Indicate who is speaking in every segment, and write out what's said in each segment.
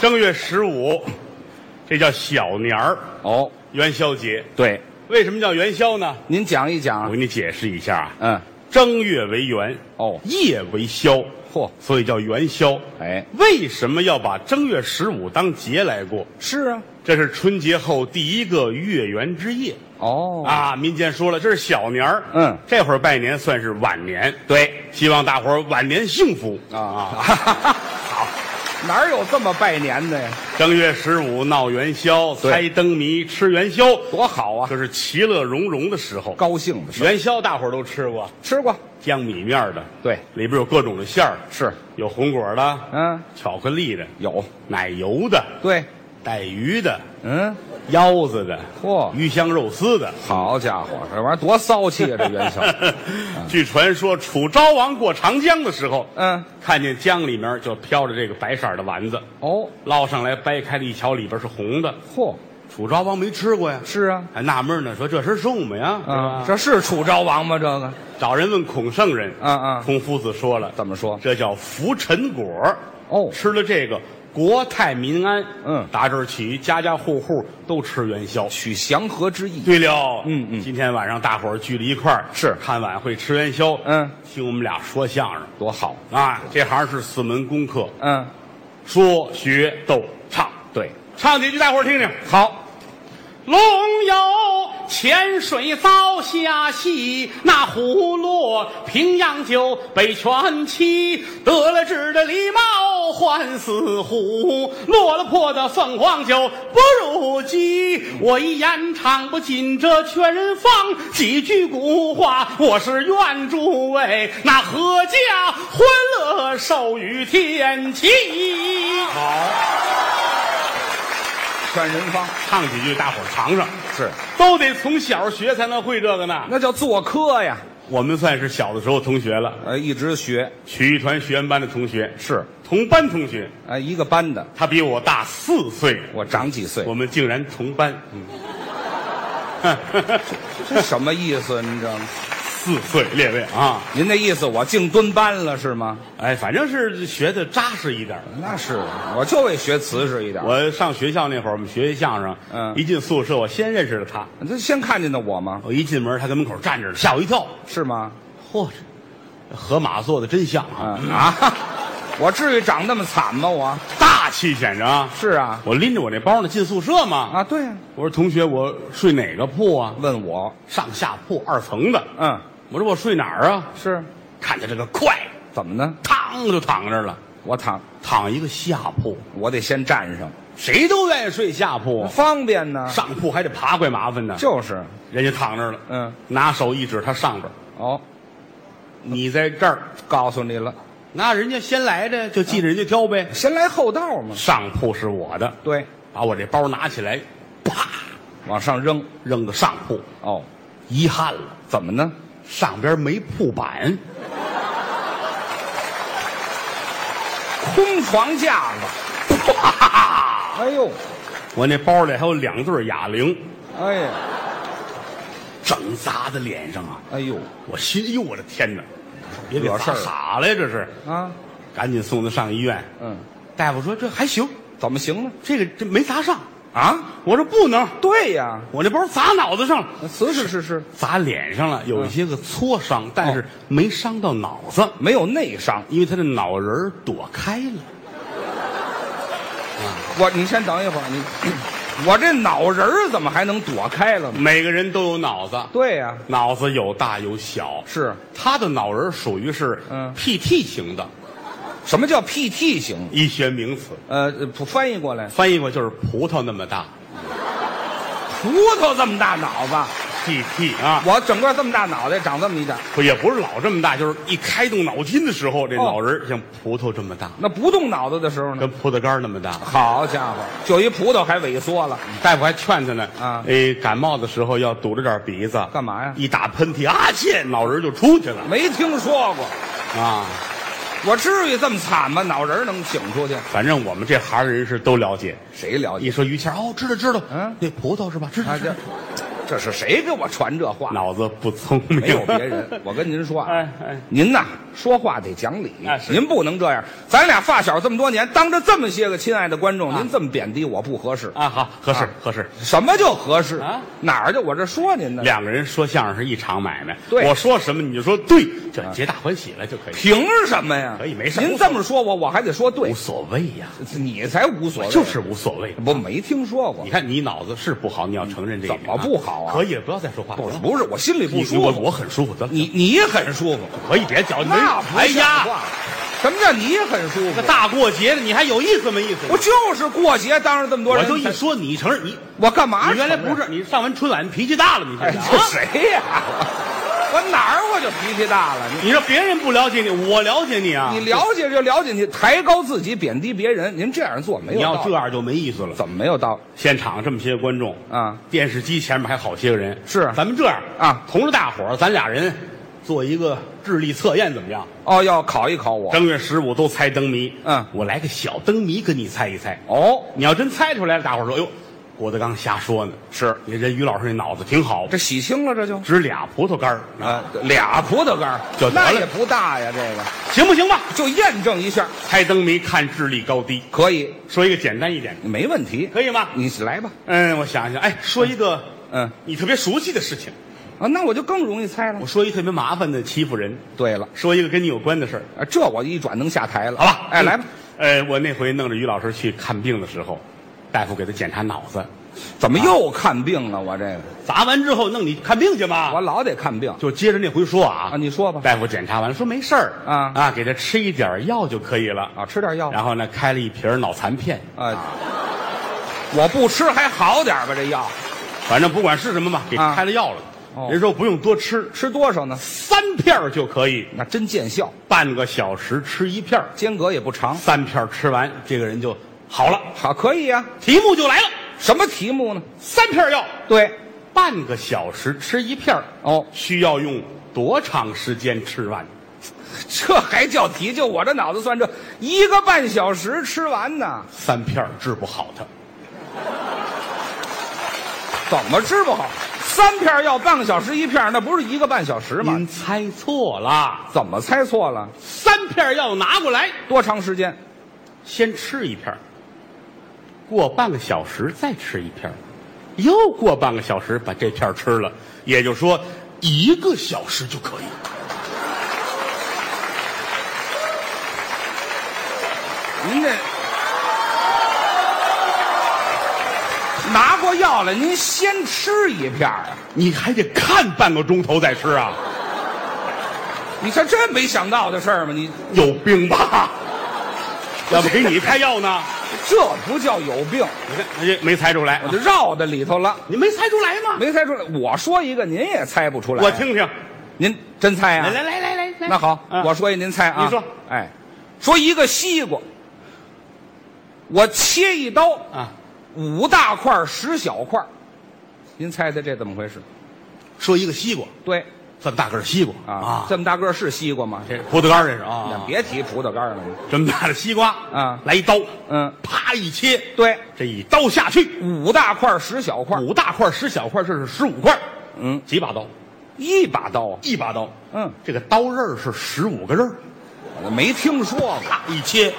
Speaker 1: 正月十五，这叫小年儿，
Speaker 2: 哦，
Speaker 1: 元宵节。
Speaker 2: 对，
Speaker 1: 为什么叫元宵呢？
Speaker 2: 您讲一讲啊
Speaker 1: 我给你解释一下啊，
Speaker 2: 嗯，
Speaker 1: 正月为元，
Speaker 2: 哦
Speaker 1: 夜为宵，
Speaker 2: 嚯
Speaker 1: 所以叫元宵。
Speaker 2: 哎，
Speaker 1: 为什么要把正月十五当节来过？
Speaker 2: 是啊，
Speaker 1: 这是春节后第一个月圆之夜
Speaker 2: 哦，
Speaker 1: 啊！民间说了，这是小年儿，
Speaker 2: 嗯
Speaker 1: 这会儿拜年算是晚年，
Speaker 2: 对，
Speaker 1: 希望大伙儿晚年幸福
Speaker 2: 啊，好，哪儿有这么拜年的呀？
Speaker 1: 正月十五闹元宵，
Speaker 2: 对
Speaker 1: 猜灯谜，吃元宵，
Speaker 2: 多好啊，
Speaker 1: 这是其乐融融的时候。
Speaker 2: 高兴的事儿，
Speaker 1: 元宵大伙儿都吃过，
Speaker 2: 吃过，
Speaker 1: 江米面儿的，
Speaker 2: 对，
Speaker 1: 里边有各种的馅儿，
Speaker 2: 是，
Speaker 1: 有红果的，
Speaker 2: 嗯，
Speaker 1: 巧克力的，
Speaker 2: 有，
Speaker 1: 奶油的，
Speaker 2: 对，
Speaker 1: 带鱼的，
Speaker 2: 嗯，
Speaker 1: 腰子的，
Speaker 2: 嚯
Speaker 1: 鱼香肉丝的。
Speaker 2: 好家伙，这玩意儿多骚气啊！这元宵，
Speaker 1: 据传说，楚昭王过长江的时候，
Speaker 2: 嗯，
Speaker 1: 看见江里面就飘着这个白色儿的丸子，
Speaker 2: 哦，
Speaker 1: 捞上来掰开了一瞧，里边是红的。
Speaker 2: 嚯，
Speaker 1: 楚昭王没吃过呀，
Speaker 2: 是啊，
Speaker 1: 还纳闷呢，说这是什么呀？对吧
Speaker 2: 啊，这是楚昭王吗？这个
Speaker 1: 找人问孔圣人，
Speaker 2: 嗯嗯
Speaker 1: 孔夫子说了，
Speaker 2: 怎么说？
Speaker 1: 这叫浮尘果，
Speaker 2: 哦
Speaker 1: 吃了这个国泰民安。
Speaker 2: 嗯
Speaker 1: 打这儿起，家家户户都吃元宵。
Speaker 2: 取祥和之意，
Speaker 1: 对了，
Speaker 2: 嗯嗯
Speaker 1: 今天晚上大伙儿聚了一块儿，
Speaker 2: 是
Speaker 1: 看晚会吃元宵，
Speaker 2: 嗯，
Speaker 1: 听我们俩说相声
Speaker 2: 多好，
Speaker 1: 啊，这行是四门功课，
Speaker 2: 嗯，
Speaker 1: 说学逗唱，
Speaker 2: 对，
Speaker 1: 唱几句大伙儿听听。
Speaker 2: 好，
Speaker 1: 龙游浅水遭虾戏，那虎落平阳酒北泉妻。得了志的狸猫换死虎，落了魄的凤凰酒不如鸡。我一言唱不尽这劝人方，几句古话我是愿诸位那阖家欢乐寿与天齐。
Speaker 2: 劝人方
Speaker 1: 唱几句，大伙儿尝尝。
Speaker 2: 是，
Speaker 1: 都得从小学才能会这个呢。
Speaker 2: 那叫做科呀，
Speaker 1: 我们算是小的时候同学了，
Speaker 2: 呃，一直学
Speaker 1: 曲艺团学员班的同学，
Speaker 2: 是，
Speaker 1: 同班同学。
Speaker 2: 啊，一个班的，
Speaker 1: 他比我大四岁，
Speaker 2: 我长几岁
Speaker 1: 我，们竟然同班。嗯，
Speaker 2: 这什么意思？你知道吗？
Speaker 1: 四岁，列位啊，
Speaker 2: 您那意思我净蹲班了是吗？
Speaker 1: 哎，反正是学的扎实一点儿。
Speaker 2: 那是，我就为学瓷实一点。
Speaker 1: 我上学校那会儿，我们学相声，
Speaker 2: 嗯
Speaker 1: 一进宿舍，我先认识了他。
Speaker 2: 这先看见的我吗？
Speaker 1: 我一进门，他跟门口站着呢，吓我一跳。
Speaker 2: 是吗？
Speaker 1: 嚯，这河马做的真像啊，
Speaker 2: 嗯啊，我至于长那么惨吗？我
Speaker 1: 大气显着啊。
Speaker 2: 是啊，
Speaker 1: 我拎着我那包呢进宿舍嘛。
Speaker 2: 啊对呀、
Speaker 1: 我说同学，我睡哪个铺啊？
Speaker 2: 问我，
Speaker 1: 上下铺二层的。
Speaker 2: 嗯，
Speaker 1: 我说我睡哪儿啊？
Speaker 2: 是
Speaker 1: 看见这个快，
Speaker 2: 怎么呢？
Speaker 1: 嘡就躺这儿了，
Speaker 2: 我躺，
Speaker 1: 躺一个下铺，
Speaker 2: 我得先站上，
Speaker 1: 谁都愿意睡下铺，
Speaker 2: 方便呢。
Speaker 1: 上铺还得爬，怪麻烦呢。
Speaker 2: 嗯就是，
Speaker 1: 人家躺这儿了，
Speaker 2: 嗯，
Speaker 1: 拿手一指他上边儿，
Speaker 2: 哦，
Speaker 1: 你在这儿，
Speaker 2: 告诉你了，
Speaker 1: 那人家先来的就记着人家挑呗。
Speaker 2: 先来后到嘛。
Speaker 1: 上铺是我的，
Speaker 2: 对，
Speaker 1: 把我这包拿起来，啪
Speaker 2: 往上扔。
Speaker 1: 扔到上铺，
Speaker 2: 哦，
Speaker 1: 遗憾了，
Speaker 2: 怎么呢？
Speaker 1: 上边没铺板。
Speaker 2: 空床架子。
Speaker 1: 啪！
Speaker 2: 哎呦，
Speaker 1: 我那包里还有两对哑铃，
Speaker 2: 哎呀，
Speaker 1: 整砸在脸上啊！
Speaker 2: 哎呦，
Speaker 1: 我心，哎呦，我的天哪！也得
Speaker 2: 惹事
Speaker 1: 砸
Speaker 2: 儿
Speaker 1: 傻了呀，这是！
Speaker 2: 啊，
Speaker 1: 赶紧送他上医院。
Speaker 2: 嗯，
Speaker 1: 大夫说这还行，
Speaker 2: 怎么行呢？
Speaker 1: 这个这没砸上。
Speaker 2: 啊，
Speaker 1: 我说不能，
Speaker 2: 对呀，
Speaker 1: 我这包砸脑子上了，
Speaker 2: 是是是是，
Speaker 1: 砸脸上了，有一些个挫伤，但
Speaker 2: 哦
Speaker 1: 是没伤到脑子，
Speaker 2: 没有内伤。
Speaker 1: 因为他的脑仁儿躲开了。
Speaker 2: 我，你先等一会儿，你， 我这脑仁儿怎么还能躲开了呢？
Speaker 1: 每个人都有脑子，
Speaker 2: 对呀、
Speaker 1: 脑子有大有小，
Speaker 2: 是
Speaker 1: 他的脑仁儿属于是
Speaker 2: 嗯
Speaker 1: PT 型的
Speaker 2: 什么叫 PT 型？
Speaker 1: 医学名词。
Speaker 2: 呃，不翻译过来，
Speaker 1: 翻译过就是葡萄那么大
Speaker 2: 葡萄这么大脑子，
Speaker 1: ，PT 啊，
Speaker 2: 我整个这么大脑袋长这么一点，
Speaker 1: 不也不是老这么大，就是一开动脑筋的时候，这
Speaker 2: 哦
Speaker 1: 脑仁儿像葡萄这么大，
Speaker 2: 那不动脑子的时候呢
Speaker 1: 跟？葡萄干儿那么大。
Speaker 2: 好家伙，就一葡萄还萎缩了，
Speaker 1: 大夫还劝他呢，
Speaker 2: 啊
Speaker 1: 哎，感冒的时候要堵着点鼻子，
Speaker 2: 干嘛呀
Speaker 1: 一打喷嚏，啊切，脑仁儿就出去了
Speaker 2: 嗯没听说过，
Speaker 1: 啊。
Speaker 2: 我至于这么惨吗？脑仁儿能请出去？
Speaker 1: 反正我们这行的人是都了解。
Speaker 2: 谁了
Speaker 1: 一
Speaker 2: 解？
Speaker 1: 说于谦儿，哦，知道知道，
Speaker 2: 嗯
Speaker 1: 那葡萄是吧？知道
Speaker 2: 啊，
Speaker 1: 知道
Speaker 2: 这。这是谁给我传这话？
Speaker 1: 脑子不聪明，
Speaker 2: 没有别人，我跟您说啊，
Speaker 1: 哎哎
Speaker 2: 您呐说话得讲理，
Speaker 1: 啊是
Speaker 2: 您不能这样。咱俩发小这么多年，当着这么些个亲爱的观众，您这么贬低我不合适。
Speaker 1: 啊。好，合适
Speaker 2: 啊
Speaker 1: 合适。
Speaker 2: 什么叫合适
Speaker 1: 啊？
Speaker 2: 哪儿就我这说您呢？
Speaker 1: 两个人说相声是一场买卖，
Speaker 2: 对啊
Speaker 1: 我说什么你就说对，这皆大欢喜了就可以，
Speaker 2: 凭什么呀？
Speaker 1: 可以没事
Speaker 2: 您这么说我，我还得说对
Speaker 1: 无，所谓呀，
Speaker 2: 你才无所谓。
Speaker 1: 就是无所谓。
Speaker 2: 我没听说过
Speaker 1: 你，看你脑子是不好，你要承认这一点、
Speaker 2: 怎么不好啊
Speaker 1: 可以了，不要再说话
Speaker 2: 不
Speaker 1: 了。
Speaker 2: 不是我心里
Speaker 1: 你
Speaker 2: 不
Speaker 1: 我
Speaker 2: 舒服。
Speaker 1: 我很舒服，得了
Speaker 2: 你你很舒服，
Speaker 1: 可以别矫情。
Speaker 2: 那不
Speaker 1: 哎
Speaker 2: 像
Speaker 1: 呀，
Speaker 2: 话，什么叫你很舒
Speaker 1: 这
Speaker 2: 服？
Speaker 1: 大过节的你还有意思没意思？
Speaker 2: 我就是过节，当着这么多
Speaker 1: 我
Speaker 2: 人才，
Speaker 1: 就一说你承认你，
Speaker 2: 我干嘛？
Speaker 1: 你原来不
Speaker 2: 是。
Speaker 1: 是你上完春晚你脾气大了，你
Speaker 2: 哎，
Speaker 1: 现在、
Speaker 2: 这
Speaker 1: 啊
Speaker 2: 谁呀、我哪儿我就脾气大了？你
Speaker 1: 你说别人不了解你，我了解你啊。
Speaker 2: 你了解就了解，你抬高自己，贬低别人，您这样做没有
Speaker 1: 你
Speaker 2: 道理
Speaker 1: 要这样就没意思了。
Speaker 2: 怎么没有道理？
Speaker 1: 现场这么些观众
Speaker 2: 啊，
Speaker 1: 电视机前面还好些个人。
Speaker 2: 是
Speaker 1: 咱们这样
Speaker 2: 啊
Speaker 1: 同着大伙儿，咱俩人做一个智力测验，怎么样？
Speaker 2: 哦，要考一考我。
Speaker 1: 正月十五都猜灯谜，
Speaker 2: 嗯
Speaker 1: 我来个小灯谜跟你猜一猜。
Speaker 2: 哦，
Speaker 1: 你要真猜出来了，大伙儿说：“哟，郭德纲瞎说呢。”
Speaker 2: 是
Speaker 1: 你人于老师那脑子挺好，
Speaker 2: 这洗清了，这就
Speaker 1: 指俩葡萄干儿
Speaker 2: 啊，俩葡萄干儿
Speaker 1: 就得了
Speaker 2: 那也不大呀，这个
Speaker 1: 行不行吧？
Speaker 2: 就验证一下，
Speaker 1: 猜灯谜看智力高低，
Speaker 2: 可以，
Speaker 1: 说一个简单一点的，
Speaker 2: 没问题。
Speaker 1: 可以吗？
Speaker 2: 你来吧，
Speaker 1: 嗯，我想想，哎，说一个
Speaker 2: 嗯
Speaker 1: 你特别熟悉的事情，
Speaker 2: 啊，那我就更容易猜了
Speaker 1: 我。说一特别麻烦的欺负人，
Speaker 2: 对了，
Speaker 1: 说一个跟你有关的事儿，
Speaker 2: 啊，这我一转能下台了，
Speaker 1: 好吧？
Speaker 2: 哎，来吧，
Speaker 1: 嗯。呃，我那回弄着于老师去看病的时候，大夫给他检查脑子，
Speaker 2: 怎
Speaker 1: 啊
Speaker 2: 么又看病了？我这个
Speaker 1: 砸完之后弄你看病去吧。
Speaker 2: 我老得看病
Speaker 1: 就接着那回说啊，
Speaker 2: 啊，你说吧。
Speaker 1: 大夫检查完了说没事儿
Speaker 2: 啊
Speaker 1: 啊，给他吃一点药就可以了
Speaker 2: 啊，吃点药。
Speaker 1: 然后呢，开了一瓶脑残片，
Speaker 2: 啊，我不吃还好点儿吧？这药
Speaker 1: 反正不管是什么吧，给
Speaker 2: 啊
Speaker 1: 开了药了。
Speaker 2: 哦
Speaker 1: 人说不用多吃，
Speaker 2: 吃多少呢？
Speaker 1: 三片儿就可以，
Speaker 2: 那真见效，
Speaker 1: 半个小时吃一片儿，
Speaker 2: 间隔也不长。
Speaker 1: 三片儿吃完，这个人就好了。
Speaker 2: 好，可以呀、
Speaker 1: 题目就来了，
Speaker 2: 什么题目呢？
Speaker 1: 三片儿药，
Speaker 2: 对，
Speaker 1: 半个小时吃一片儿，
Speaker 2: 哦，
Speaker 1: 需要用多长时间吃完？
Speaker 2: 这还叫题？就我这脑子算这一个半小时吃完呢，
Speaker 1: 三片儿治不好他，
Speaker 2: 怎么治不好？三片药半个小时一片，那不是一个半小时吗？
Speaker 1: 您猜错了。
Speaker 2: 怎么猜错了？
Speaker 1: 三片儿药拿过来，
Speaker 2: 多长时间？
Speaker 1: 先吃一片儿，过半个小时再吃一片儿，又过半个小时把这片儿吃了，也就是说一个小时就可以。
Speaker 2: 您这拿过药来，您先吃一片儿啊？
Speaker 1: 你还得看半个钟头再吃啊，
Speaker 2: 你这真没想到的事儿吗？你
Speaker 1: 有病吧？ 要不给你开药呢？
Speaker 2: 这不叫有病，
Speaker 1: 你看，哎，没猜出来
Speaker 2: 我，就绕到里头了，
Speaker 1: 你没猜出来吗？
Speaker 2: 没猜出来。我说一个，您也猜不出来。啊
Speaker 1: 我，听听，
Speaker 2: 您真猜
Speaker 1: 来
Speaker 2: 啊？
Speaker 1: 来来来来来，
Speaker 2: 那好，
Speaker 1: 啊
Speaker 2: 我说一，您猜啊？
Speaker 1: 你说，
Speaker 2: 哎，说一个西瓜，我切一刀，
Speaker 1: 啊，
Speaker 2: 五大块儿十小块儿，您猜猜这怎么回事？
Speaker 1: 说一个西瓜，
Speaker 2: 对
Speaker 1: 这么大个儿西瓜
Speaker 2: 啊，这么大个儿是西瓜吗？
Speaker 1: 这葡萄干儿这是啊，
Speaker 2: 别提葡萄干了，
Speaker 1: 这么大的西瓜
Speaker 2: 啊
Speaker 1: 来一刀，
Speaker 2: 嗯，
Speaker 1: 啪一切，
Speaker 2: 对，
Speaker 1: 这一刀下去，
Speaker 2: 五大块儿十小块儿，
Speaker 1: 五大块儿十小块儿，这是十五块儿，
Speaker 2: 嗯，
Speaker 1: 几把刀？
Speaker 2: 一把刀啊，
Speaker 1: 一把刀。
Speaker 2: 嗯，
Speaker 1: 这个刀刃儿是十五个刃儿，
Speaker 2: 我没听说过
Speaker 1: 啪一切，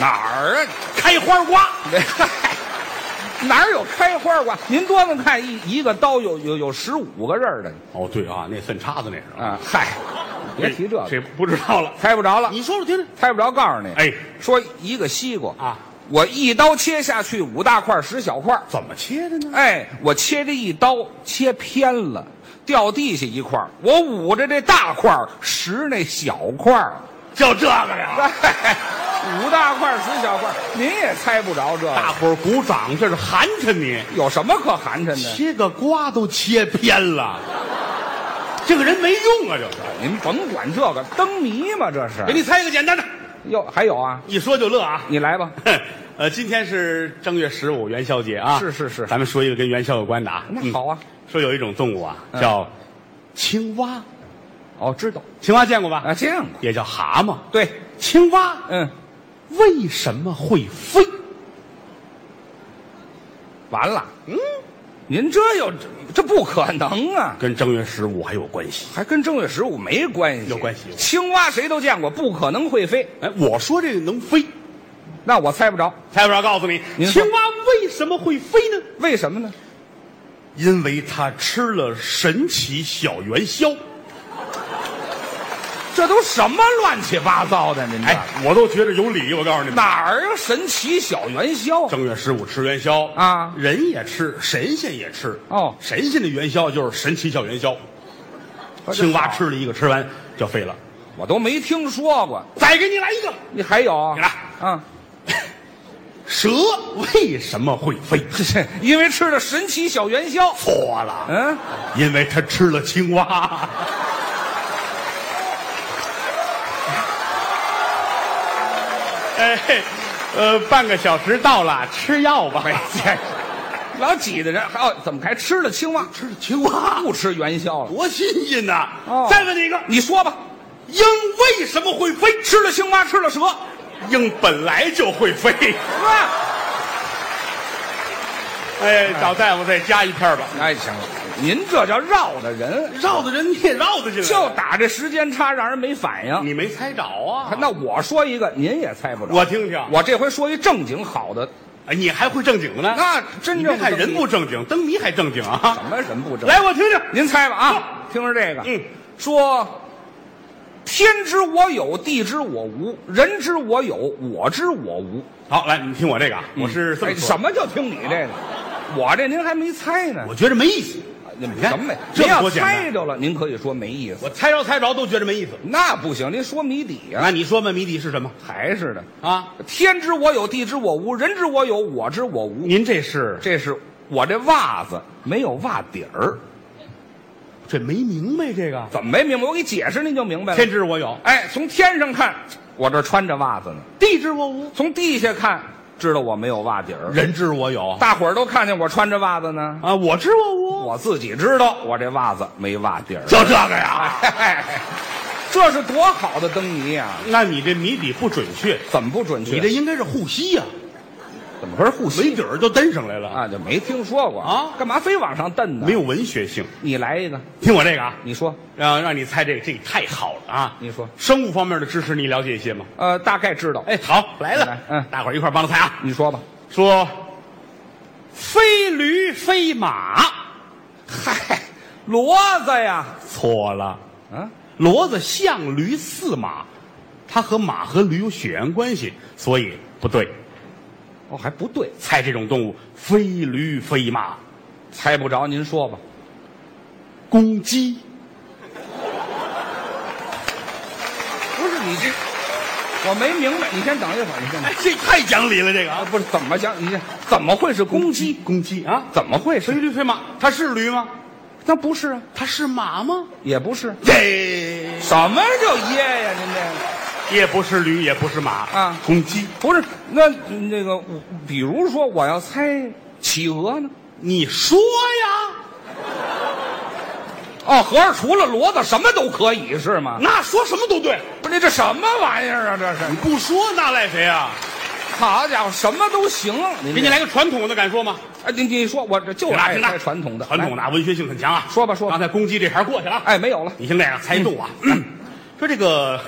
Speaker 2: 哪儿啊？
Speaker 1: 开花瓜。
Speaker 2: 嗨， 哪儿有开花瓜？您多么看一一个刀有有有十五个刃儿的
Speaker 1: 哦，对啊，那粪叉子那是。
Speaker 2: 啊！嗨，别提这个，
Speaker 1: 这不知道了。
Speaker 2: 猜不着了，
Speaker 1: 你说说听听。
Speaker 2: 猜不着。告诉你，
Speaker 1: 哎，
Speaker 2: 说一个西瓜
Speaker 1: 啊，
Speaker 2: 我一刀切下去五大块儿十小块儿，
Speaker 1: 怎么切的呢？
Speaker 2: 哎，我切这一刀切偏了，掉地下一块儿，我捂着这大块儿拾那小块儿，
Speaker 1: 就这个呀！
Speaker 2: 哎五大块儿十小块儿，您也猜不着这个
Speaker 1: 大伙儿鼓掌，这是寒碜你，
Speaker 2: 有什么可寒碜的？
Speaker 1: 切个瓜都切偏 了，这个人没用啊！这是。
Speaker 2: 您甭管这个灯谜嘛，这是
Speaker 1: 给。哎你猜一个简单的，
Speaker 2: 哟，还有啊，
Speaker 1: 一说就乐啊。
Speaker 2: 你来吧。
Speaker 1: 哼，呃，今天是正月十五元宵节啊，
Speaker 2: 是是是
Speaker 1: 咱们说一个跟元宵有关的啊。
Speaker 2: 那好啊，
Speaker 1: 嗯，说有一种动物啊
Speaker 2: 嗯
Speaker 1: 叫青蛙，
Speaker 2: 哦，知道
Speaker 1: 青蛙见过吧？
Speaker 2: 啊，见过。
Speaker 1: 也叫蛤蟆。
Speaker 2: 对，
Speaker 1: 青蛙
Speaker 2: 嗯，
Speaker 1: 为什么会飞？
Speaker 2: 完了。
Speaker 1: 嗯，
Speaker 2: 您这又这不可能啊！
Speaker 1: 跟正月十五还有关系。
Speaker 2: 还跟正月十五没关系，
Speaker 1: 有关系有
Speaker 2: 青蛙谁都见过，不可能会飞，
Speaker 1: 哎，我说这个能飞，
Speaker 2: 那我猜不着，
Speaker 1: 蔡部长告诉你，
Speaker 2: 您说
Speaker 1: 青蛙为什么会飞呢？
Speaker 2: 为什么呢？
Speaker 1: 因为它吃了神奇小元宵。
Speaker 2: 这都什么乱七八糟的？您这、
Speaker 1: 哎，我都觉得有理。我告诉你们，
Speaker 2: 哪儿啊？神奇小元宵
Speaker 1: 正月十五吃元宵
Speaker 2: 啊
Speaker 1: 人也吃，神仙也吃。
Speaker 2: 哦
Speaker 1: 神仙的元宵就是神奇小元宵，青蛙，吃了一个，吃完就废了。
Speaker 2: 我都没听说过。
Speaker 1: 再给你来一个，
Speaker 2: 你还有啊
Speaker 1: 你来。
Speaker 2: 啊？
Speaker 1: 蛇为什么会飞？
Speaker 2: 这 因为吃了神奇小元宵，
Speaker 1: 错了，
Speaker 2: 嗯，
Speaker 1: 因为它吃了青蛙。 哎，呃，半个小时到了，吃药吧。
Speaker 2: 这老挤的人，还哦，怎么还吃了青蛙？
Speaker 1: 吃了青蛙，
Speaker 2: 不吃元宵了？
Speaker 1: 多新鲜呐！
Speaker 2: 哦
Speaker 1: 再问你一个，
Speaker 2: 你说吧，
Speaker 1: 鹰为什么会飞？
Speaker 2: 吃了青蛙，吃了蛇，
Speaker 1: 鹰本来就会飞。
Speaker 2: 啊！
Speaker 1: 哎，找大夫再加一片吧。
Speaker 2: 哎，行了，您这叫绕的人，
Speaker 1: 绕的人你也绕得进来，
Speaker 2: 就打这时间差，让人没反应。
Speaker 1: 你没猜着啊？
Speaker 2: 那我说一个，您也猜不着。
Speaker 1: 我听听，
Speaker 2: 我这回说一正经好的，
Speaker 1: 哎你还会正经的呢？
Speaker 2: 那
Speaker 1: 你
Speaker 2: 真正
Speaker 1: 别看
Speaker 2: 的
Speaker 1: 人不正经，灯谜还正经啊？
Speaker 2: 什么人不正？，
Speaker 1: 来，我听听。
Speaker 2: 您猜吧啊！听着这个，
Speaker 1: 嗯，
Speaker 2: 说天知我有，地知我无，人知我有，我知我无。
Speaker 1: 好，来，你听我这个啊，我是这么
Speaker 2: 哎
Speaker 1: 说
Speaker 2: 什么叫听你这个？我这您还没猜呢
Speaker 1: 我，觉着没意思。
Speaker 2: 你们
Speaker 1: 看
Speaker 2: 什么没？
Speaker 1: 这
Speaker 2: 您
Speaker 1: 么
Speaker 2: 要
Speaker 1: 多简单
Speaker 2: 猜着了，您可以说没意思。
Speaker 1: 我猜着猜着都觉着没意思。
Speaker 2: 那不行，您说谜底呀、
Speaker 1: 那你说吧，谜底是什么
Speaker 2: 还是的。
Speaker 1: 啊？
Speaker 2: 天知我有，地知我无，人知我有，我知我无。
Speaker 1: 您这是
Speaker 2: 这是我这袜子没有袜底儿，
Speaker 1: 这没明白这个？
Speaker 2: 怎么没明白？我给你解释您就明白了
Speaker 1: 天。知我有，
Speaker 2: 哎，从天上看，我这穿着袜子呢；
Speaker 1: 地知我无，
Speaker 2: 从地下看，知道我没有袜底儿。
Speaker 1: 人知我有
Speaker 2: 大伙儿都看见我穿着袜子呢，
Speaker 1: 啊，我知我无，
Speaker 2: 我自己知道我这袜子没袜底儿。
Speaker 1: 就这个呀？
Speaker 2: 哎 这是多好的灯谜呀、
Speaker 1: 那你这谜底不准确，
Speaker 2: 怎么不准确？
Speaker 1: 你这应该是护膝呀，
Speaker 2: 怎么回事？护膝
Speaker 1: 没底儿就蹬上来了，
Speaker 2: 啊，就没听说过
Speaker 1: 啊
Speaker 2: 干嘛非往上蹬呢？
Speaker 1: 没有文学性。
Speaker 2: 你来一个，
Speaker 1: 听我这个啊，
Speaker 2: 你说，
Speaker 1: 让让你猜这个，这个太好了啊！
Speaker 2: 你说
Speaker 1: 生物方面的知识你了解一些吗？
Speaker 2: 呃，大概知道。
Speaker 1: 哎，好，来了
Speaker 2: 来，嗯
Speaker 1: 大伙儿一块儿帮着猜啊。
Speaker 2: 你说吧。
Speaker 1: 说飞驴飞马，
Speaker 2: 嗨，骡子呀，
Speaker 1: 错了，
Speaker 2: 啊，
Speaker 1: 骡子象驴似马，它和马和驴有血缘关系，所以不对。
Speaker 2: 哦，还不对，
Speaker 1: 猜这种动物，飞驴飞马，
Speaker 2: 猜不着，您说吧。
Speaker 1: 公鸡
Speaker 2: 不是你这，我没明白。你先等一会儿，你先等。
Speaker 1: 哎这太讲理了，这个
Speaker 2: 啊，
Speaker 1: 啊，
Speaker 2: 不是怎么讲？你这怎么会是公鸡？
Speaker 1: 公鸡啊，
Speaker 2: 怎么会
Speaker 1: 飞
Speaker 2: 是？
Speaker 1: 驴飞马，它是驴吗？
Speaker 2: 那不是啊，
Speaker 1: 它是马吗？
Speaker 2: 也不是。
Speaker 1: 这
Speaker 2: 什么叫耶呀？您这个
Speaker 1: 也不是驴，也不是马
Speaker 2: 啊
Speaker 1: 公鸡，
Speaker 2: 不是那那个，我比如说我要猜企鹅呢？
Speaker 1: 你说呀？
Speaker 2: 哦，合着除了骡子什么都可以是吗？
Speaker 1: 啊那说什么都对，
Speaker 2: 不是这什么玩意儿啊？这是
Speaker 1: 你不说那赖谁啊？
Speaker 2: 好家伙，什么都行。您
Speaker 1: 给
Speaker 2: 这
Speaker 1: 你来个传统的，敢说吗？
Speaker 2: 哎，你你说我这就
Speaker 1: 听着啊
Speaker 2: 爱
Speaker 1: 听着啊
Speaker 2: 猜哎传统的，
Speaker 1: 传统的
Speaker 2: 来
Speaker 1: 啊，文学性很强啊。
Speaker 2: 说吧说吧
Speaker 1: 刚才公鸡这茬过去了啊。
Speaker 2: 哎，没嗯有了，
Speaker 1: 你先这样猜度啊。说这个，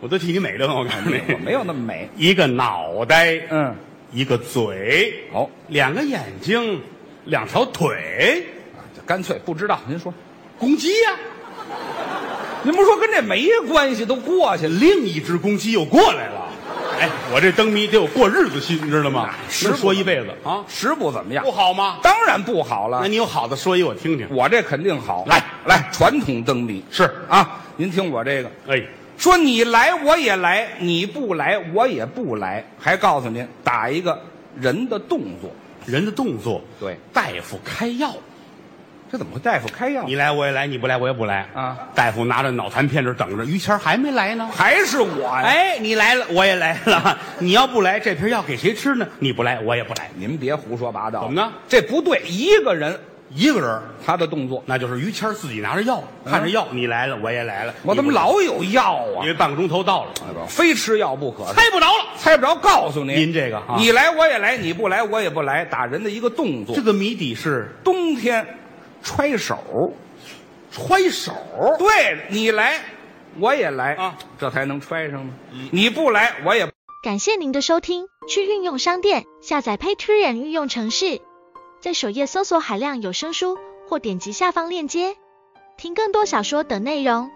Speaker 1: 我都替你美的很，我告诉你，
Speaker 2: 我没有那么美。
Speaker 1: 一个脑袋，
Speaker 2: 嗯，
Speaker 1: 一个嘴，
Speaker 2: 好，
Speaker 1: 两个眼睛，两条腿，
Speaker 2: 干脆不知道。您说，
Speaker 1: 公鸡呀、
Speaker 2: 您不是说跟这没关系，都过去了。
Speaker 1: 另一只公鸡又过来了。哎，我这灯谜得有过日子心，你知道吗？
Speaker 2: 是啊
Speaker 1: 能说一辈子啊，
Speaker 2: 食不怎么样
Speaker 1: 不，好吗？
Speaker 2: 当然不好了
Speaker 1: 那。你有好的说一，我听听。
Speaker 2: 我这肯定好。
Speaker 1: 来
Speaker 2: 来，传统灯谜
Speaker 1: 是
Speaker 2: 啊，您听我这个，
Speaker 1: 哎，
Speaker 2: 说你来我也来，你不来我也不来，还告诉您打一个人的动作。
Speaker 1: 人的动作，
Speaker 2: 对，
Speaker 1: 大夫开药，
Speaker 2: 这怎么会大夫开药
Speaker 1: 你？来我也来，你不来我也不来
Speaker 2: 啊！
Speaker 1: 大夫拿着脑残片这儿等着，于谦儿还没来呢。
Speaker 2: 还是我呀？，
Speaker 1: 哎，你来了，我也来了。你要不来，这瓶药给谁吃呢？你不来，我也不来。
Speaker 2: 您别胡说八道。
Speaker 1: 怎么呢？
Speaker 2: 这不对，一个人
Speaker 1: 一个人，
Speaker 2: 他的动作，
Speaker 1: 那就是于谦儿自己拿着药，看着药，你来了，我也来了。
Speaker 2: 我怎么
Speaker 1: 你不来？
Speaker 2: 老有药啊哎
Speaker 1: 因？为半个钟头到了，
Speaker 2: 非吃药 不可。
Speaker 1: 猜不着了。
Speaker 2: 猜不着，告诉您，
Speaker 1: 您这个啊
Speaker 2: 你来我也来，你不来我也不来，打人的一个动作。
Speaker 1: 这个谜底是
Speaker 2: 冬天揣手。
Speaker 1: 揣手，
Speaker 2: 对你来，我也来
Speaker 1: 啊，嗯
Speaker 2: 这才能揣上呢。你不来，我也
Speaker 3: 感谢您的收听，去运用商店下载 Patreon 运用城市，在首页搜索海量有声书，或点击下方链接听更多小说等内容。